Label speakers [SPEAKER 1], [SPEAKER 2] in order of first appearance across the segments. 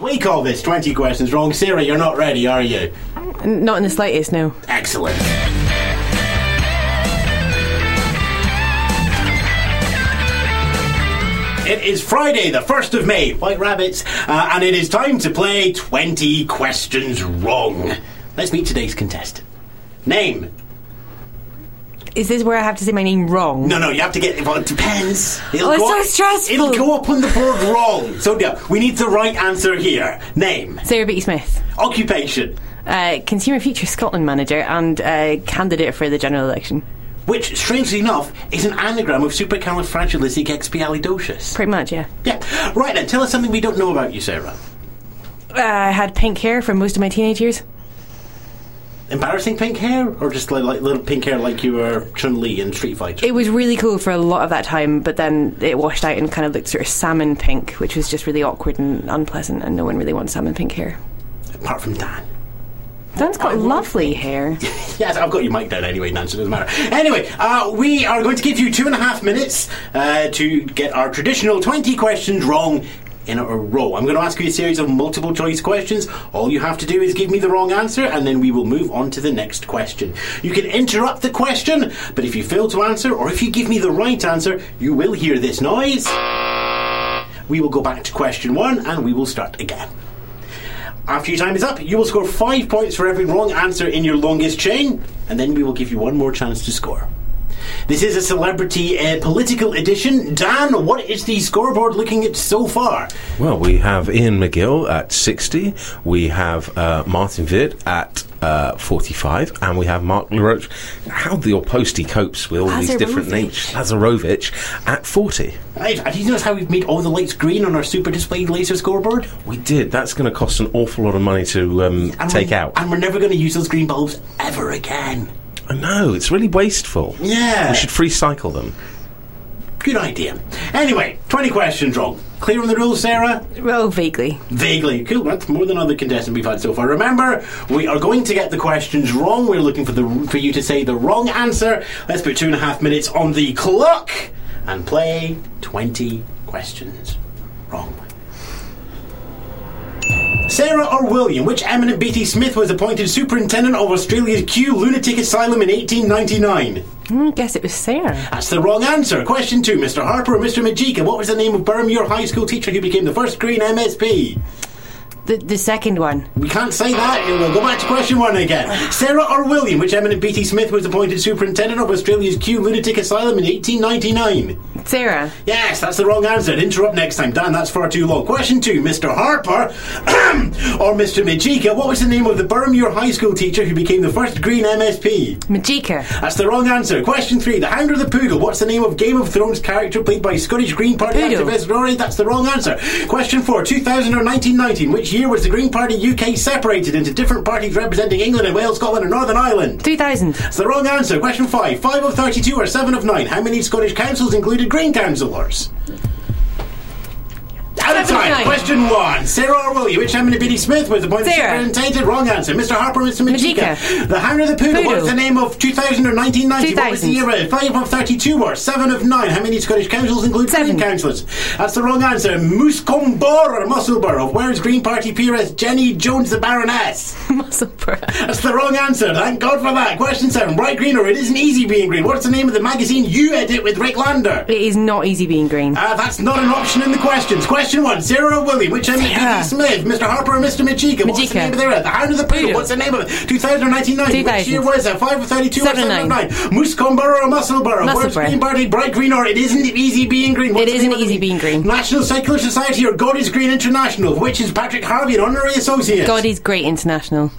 [SPEAKER 1] We call this 20 questions wrong. Sarah, you're not ready, are you?
[SPEAKER 2] N- Not in the slightest, no.
[SPEAKER 1] Excellent. It is Friday, the 1st of May, White Rabbits, uh, and it is time to play 20 Questions Wrong. Let's meet today's contestant. Name.
[SPEAKER 2] Is this where I have to say my name wrong?
[SPEAKER 1] No, no, you have to get. Well, it depends. It'll
[SPEAKER 2] Oh, it's
[SPEAKER 1] go
[SPEAKER 2] so
[SPEAKER 1] up-
[SPEAKER 2] stressful.
[SPEAKER 1] It'll go up on the board wrong. So, no, we need the right answer here. Name.
[SPEAKER 2] Sarah Beattie Smith,
[SPEAKER 1] Occupation.
[SPEAKER 2] uh, Consumer Future Scotland manager and uh, candidate for the general election.
[SPEAKER 1] Which, strangely enough, is an anagram of supercalifragilisticexpialidocious.
[SPEAKER 2] Pretty much, yeah.
[SPEAKER 1] Yeah. Right then, tell us something we don't know about you, Sarah.
[SPEAKER 2] Uh, I had pink hair for most of my teenage years.
[SPEAKER 1] Embarrassing pink hair, or just like, like little pink hair like you were Chun Li in Street Fighter?
[SPEAKER 2] It was really cool for a lot of that time, but then it washed out and kind of looked sort of salmon pink, which was just really awkward and unpleasant, and no one really wants salmon pink hair.
[SPEAKER 1] Apart from Dan.
[SPEAKER 2] Dan's got lovely hair.
[SPEAKER 1] Yes, I've got your mic down anyway, Nancy, it doesn't matter. Anyway, uh, we are going to give you two and a half minutes uh, to get our traditional 20 questions wrong in a row. I'm going to ask you a series of multiple choice questions. All you have to do is give me the wrong answer, and then we will move on to the next question. You can interrupt the question, but if you fail to answer, or if you give me the right answer, you will hear this noise. We will go back to question one, and we will start again. After your time is up, you will score five points for every wrong answer in your longest chain, and then we will give you one more chance to score. This is a celebrity uh, political edition. Dan, what is the scoreboard looking at so far?
[SPEAKER 3] Well, we have Ian McGill at 60, we have uh, Martin Vid at uh, 45, and we have Mark LaRoche. How the postie copes with all these different names. Lazarovic at 40.
[SPEAKER 1] Right, and you notice how we've made all the lights green on our super display laser scoreboard?
[SPEAKER 3] We did. That's going to cost an awful lot of money to um,
[SPEAKER 1] And
[SPEAKER 3] take
[SPEAKER 1] we're,
[SPEAKER 3] out.
[SPEAKER 1] And we're never going to use those green bulbs ever again.
[SPEAKER 3] I know, it's really wasteful.
[SPEAKER 1] Yeah.
[SPEAKER 3] We should free cycle them.
[SPEAKER 1] Good idea. Anyway, 20 questions wrong. Clear on the rules, Sarah?
[SPEAKER 2] Well, vaguely.
[SPEAKER 1] Vaguely. Cool. That's more than other contestant we've had so far. Remember, we are going to get the questions wrong. We're looking for the for you to say the wrong answer. Let's put two and a half minutes on the clock and play twenty questions wrong. Sarah or William, which eminent B.T. Smith was appointed superintendent of Australia's Q Lunatic Asylum in 1899?
[SPEAKER 2] Hmm, guess it was Sarah.
[SPEAKER 1] That's the wrong answer. Question two, Mr. Harper or Mr. Majika, what was the name of Bermuir High School teacher who became the first Green MSP?
[SPEAKER 2] The, the second one.
[SPEAKER 1] We can't say that. We'll go back to question one again. Sarah or William, which eminent B.T. Smith was appointed superintendent of Australia's Q Lunatic Asylum in 1899?
[SPEAKER 2] Sarah.
[SPEAKER 1] Yes, that's the wrong answer. Interrupt next time, Dan. That's far too long. Question two, Mr. Harper or Mr. Majika, what was the name of the Burmuir High School teacher who became the first green MSP?
[SPEAKER 2] Majika.
[SPEAKER 1] That's the wrong answer. Question three, The Hound or the Poodle, what's the name of Game of Thrones character played by Scottish Green Party
[SPEAKER 2] Poodle.
[SPEAKER 1] activist Rory? That's the wrong answer. Question four, 2000 or 1919, which year was the Green Party UK separated into different parties representing England and Wales, Scotland and Northern Ireland?
[SPEAKER 2] 2000.
[SPEAKER 1] That's the wrong answer. Question five, 5 of 32 or 7 of 9, how many Scottish councils included Green councillors? Out of
[SPEAKER 2] Seven of
[SPEAKER 1] time.
[SPEAKER 2] nine.
[SPEAKER 1] Question one. Sarah or Willie, which Emily Biddy Smith was appointed
[SPEAKER 2] Sarah.
[SPEAKER 1] superintendent? Wrong answer. Mr. Harper, Mr. Majika.
[SPEAKER 2] Majika.
[SPEAKER 1] The Hound of the Poodle.
[SPEAKER 2] Poodle.
[SPEAKER 1] What's the name of 2000 or 1990? What was the
[SPEAKER 2] 2000.
[SPEAKER 1] year? of? Five of 32 or seven of nine. How many Scottish councils include Green
[SPEAKER 2] Seven.
[SPEAKER 1] councillors? That's the wrong answer. Muscombor or Musselburgh. Where's Green Party peeress Jenny Jones, the Baroness?
[SPEAKER 2] Musselburgh.
[SPEAKER 1] That's the wrong answer. Thank God for that. Question seven. Right green or it isn't easy being green. What's the name of the magazine you edit with Rick Lander?
[SPEAKER 2] It is not easy being green.
[SPEAKER 1] Uh, that's not an option in the questions. Question one: Sarah or Willie? Which Emily
[SPEAKER 2] Sarah.
[SPEAKER 1] B.D. Smith? Mr. Harper or Mr. Majika? What's
[SPEAKER 2] Majika.
[SPEAKER 1] the name of their The Hound of the Poodle.
[SPEAKER 2] Poodle.
[SPEAKER 1] What's the name of it? 2019 Which
[SPEAKER 2] 2000.
[SPEAKER 1] year was it? 5 or 32
[SPEAKER 2] Seven
[SPEAKER 1] or
[SPEAKER 2] and
[SPEAKER 1] 7 of 9? Muscomborough or Musselburgh? Where's
[SPEAKER 2] Musselburgh.
[SPEAKER 1] Green Party? Bright green or it isn't easy being green? What's
[SPEAKER 2] It
[SPEAKER 1] the
[SPEAKER 2] isn't
[SPEAKER 1] name of the-
[SPEAKER 2] easy being green.
[SPEAKER 1] National Secular Society or God is Green International? Which is Patrick Harvey an honorary associate?
[SPEAKER 2] God is great international.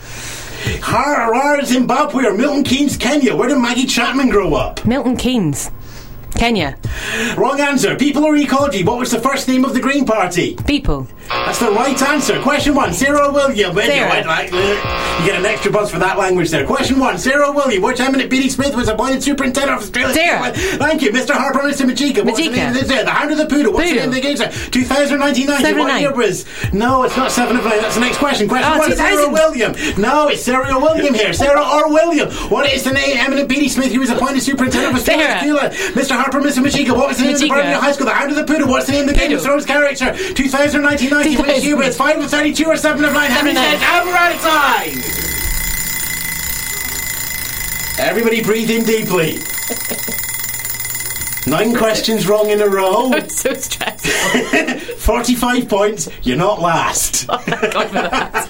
[SPEAKER 1] Harare, Zimbabwe or Milton Keynes, Kenya? Where did Maggie Chapman grow up?
[SPEAKER 2] Milton Keynes. Kenya.
[SPEAKER 1] Wrong answer. People or ecology? What was the first name of the Green Party?
[SPEAKER 2] People.
[SPEAKER 1] That's the right answer. Question one, Sarah William.
[SPEAKER 2] Sarah.
[SPEAKER 1] Anyway, like, uh, You get an extra buzz for that language there. Question one Sarah Woolley, which eminent Beatty Smith was appointed superintendent of Australia?
[SPEAKER 2] Sarah.
[SPEAKER 1] Thank you. Mr. Harper, Mr. Majika. What's the
[SPEAKER 2] Majika.
[SPEAKER 1] name of this? there? The Hound of the Poodle. What's the name
[SPEAKER 2] Poodle.
[SPEAKER 1] of the game? sir? 2099.
[SPEAKER 2] Seven of
[SPEAKER 1] what
[SPEAKER 2] nine.
[SPEAKER 1] year was? No, it's not 7 of 9. That's the next question. Question
[SPEAKER 2] Oh,
[SPEAKER 1] one Sarah
[SPEAKER 2] 2000.
[SPEAKER 1] William. No, it's Sarah or William here. Sarah or William. What is the name? Eminent Beatty Smith, who was appointed superintendent of Australia?
[SPEAKER 2] Sarah.
[SPEAKER 1] Australia. Mr. Harper, Mr. Majika. What was the name of the
[SPEAKER 2] Majika.
[SPEAKER 1] Birmingham High School? The Hound of the Poodle. What's the name of the Game of
[SPEAKER 2] Poodle.
[SPEAKER 1] Thrones character? 2099. What is you with? 5 of 32 or 7 of 9? How many
[SPEAKER 2] Seven
[SPEAKER 1] said?
[SPEAKER 2] of
[SPEAKER 1] Over out of time! Everybody breathe in deeply. Nine questions wrong in a row.
[SPEAKER 2] I'm so stressed.
[SPEAKER 1] 45 points, you're not last.
[SPEAKER 2] Thank God for that.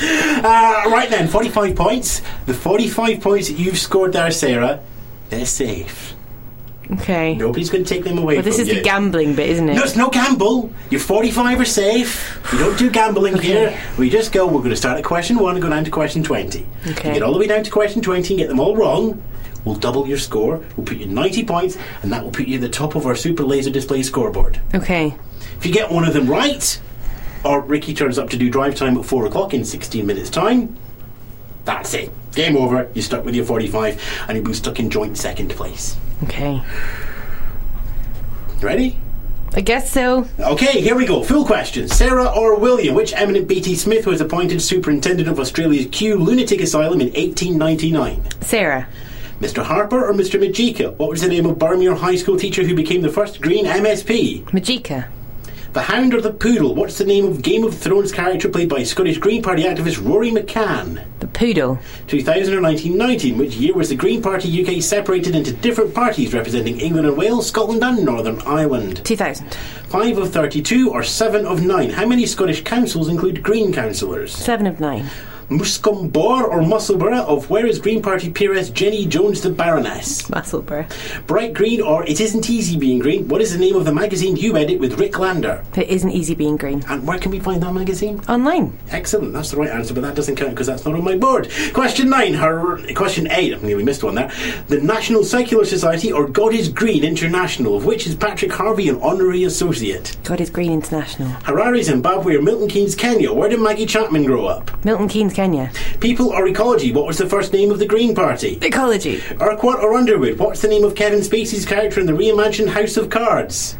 [SPEAKER 1] Uh, right then, 45 points. The 45 points that you've scored there, Sarah, they're safe.
[SPEAKER 2] Okay.
[SPEAKER 1] Nobody's going to take them away
[SPEAKER 2] Well, this
[SPEAKER 1] from
[SPEAKER 2] is
[SPEAKER 1] you.
[SPEAKER 2] the gambling bit, isn't it?
[SPEAKER 1] No, it's no gamble. Your 45 are safe. We don't do gambling here. We just go, we're going to start at question one and go down to question 20.
[SPEAKER 2] Okay.
[SPEAKER 1] You get all the way down to question 20 and get them all wrong. We'll double your score. We'll put you 90 points, and that will put you at the top of our super laser display scoreboard.
[SPEAKER 2] Okay.
[SPEAKER 1] If you get one of them right, or Ricky turns up to do drive time at 4 o'clock in 16 minutes' time, that's it. Game over. You're stuck with your 45, and you'll be stuck in joint second place.
[SPEAKER 2] Okay.
[SPEAKER 1] Ready?
[SPEAKER 2] I guess so.
[SPEAKER 1] Okay, here we go. Full question. Sarah or William, which eminent BT Smith was appointed superintendent of Australia's Q Lunatic Asylum in 1899?
[SPEAKER 2] Sarah.
[SPEAKER 1] Mr. Harper or Mr. Majika? What was the name of Barmere High School teacher who became the first green MSP?
[SPEAKER 2] Majika.
[SPEAKER 1] The Hound or the Poodle? What's the name of Game of Thrones character played by Scottish Green Party activist Rory McCann?
[SPEAKER 2] The poodle.
[SPEAKER 1] 2019-19, which year was the Green Party UK separated into different parties representing England and Wales, Scotland and Northern Ireland?
[SPEAKER 2] 2000.
[SPEAKER 1] 5 of 32 or 7 of 9. How many Scottish councils include Green councillors?
[SPEAKER 2] 7 of 9.
[SPEAKER 1] Muscombor or Musselburgh of Where is Green Party peeress Jenny Jones the Baroness?
[SPEAKER 2] Musselburgh.
[SPEAKER 1] Bright Green or It Isn't Easy Being Green, what is the name of the magazine you edit with Rick Lander?
[SPEAKER 2] It isn't easy being green.
[SPEAKER 1] And where can we find that magazine?
[SPEAKER 2] Online.
[SPEAKER 1] Excellent, that's the right answer, but that doesn't count because that's not on my board. Question 9, her, question 8, I nearly missed one there. The National Secular Society or God is Green International, of which is Patrick Harvey an honorary associate?
[SPEAKER 2] God is green international.
[SPEAKER 1] Harare, Zimbabwe, or Milton Keynes, Kenya? Where did Maggie Chapman grow up?
[SPEAKER 2] Milton Keynes, Kenya.
[SPEAKER 1] People or ecology? What was the first name of the Green Party?
[SPEAKER 2] Ecology.
[SPEAKER 1] Urquhart or Underwood? What's the name of Kevin Spacey's character in the reimagined House of Cards?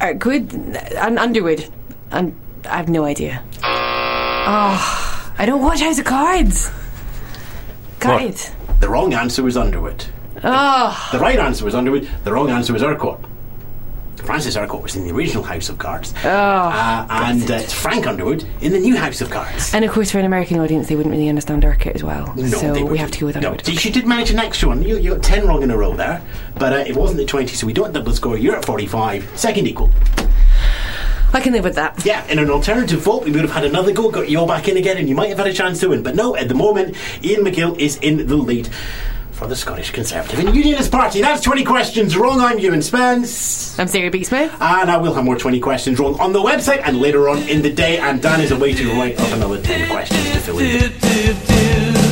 [SPEAKER 2] Uh, good. And Underwood. And I have no idea. Oh, I don't watch House of Cards.
[SPEAKER 3] Right.
[SPEAKER 2] Guys.
[SPEAKER 1] The wrong answer was Underwood.
[SPEAKER 2] Oh,
[SPEAKER 1] The right answer was Underwood. The wrong answer was Urquhart. Francis Urquhart was in the original House of Cards,
[SPEAKER 2] Ah.
[SPEAKER 1] uh, and uh, it's Frank Underwood in the new House of Cards.
[SPEAKER 2] and of course, for an American audience, they wouldn't really understand Urquhart as well. so
[SPEAKER 1] they
[SPEAKER 2] we
[SPEAKER 1] wouldn't.
[SPEAKER 2] have to go with
[SPEAKER 1] No,
[SPEAKER 2] Underwood.
[SPEAKER 1] so you did manage an extra one. You, you got 10 wrong in a row there, but uh, it wasn't at 20, so we don't double score. You're at 45, second equal.
[SPEAKER 2] I can live with that.
[SPEAKER 1] Yeah, in an alternative vote, we would have had another go, got you all back in again, and you might have had a chance to win. But no, at the moment, Ian McGill is in the lead for the Scottish Conservative and Unionist Party. That's 20 questions wrong. I'm Ewan Spence.
[SPEAKER 2] I'm Sarah B. Smith.
[SPEAKER 1] And I will have more 20 questions wrong on the website and later on in the day. And Dan is away to write up another 10 questions to fill in.
[SPEAKER 4] do, do, do.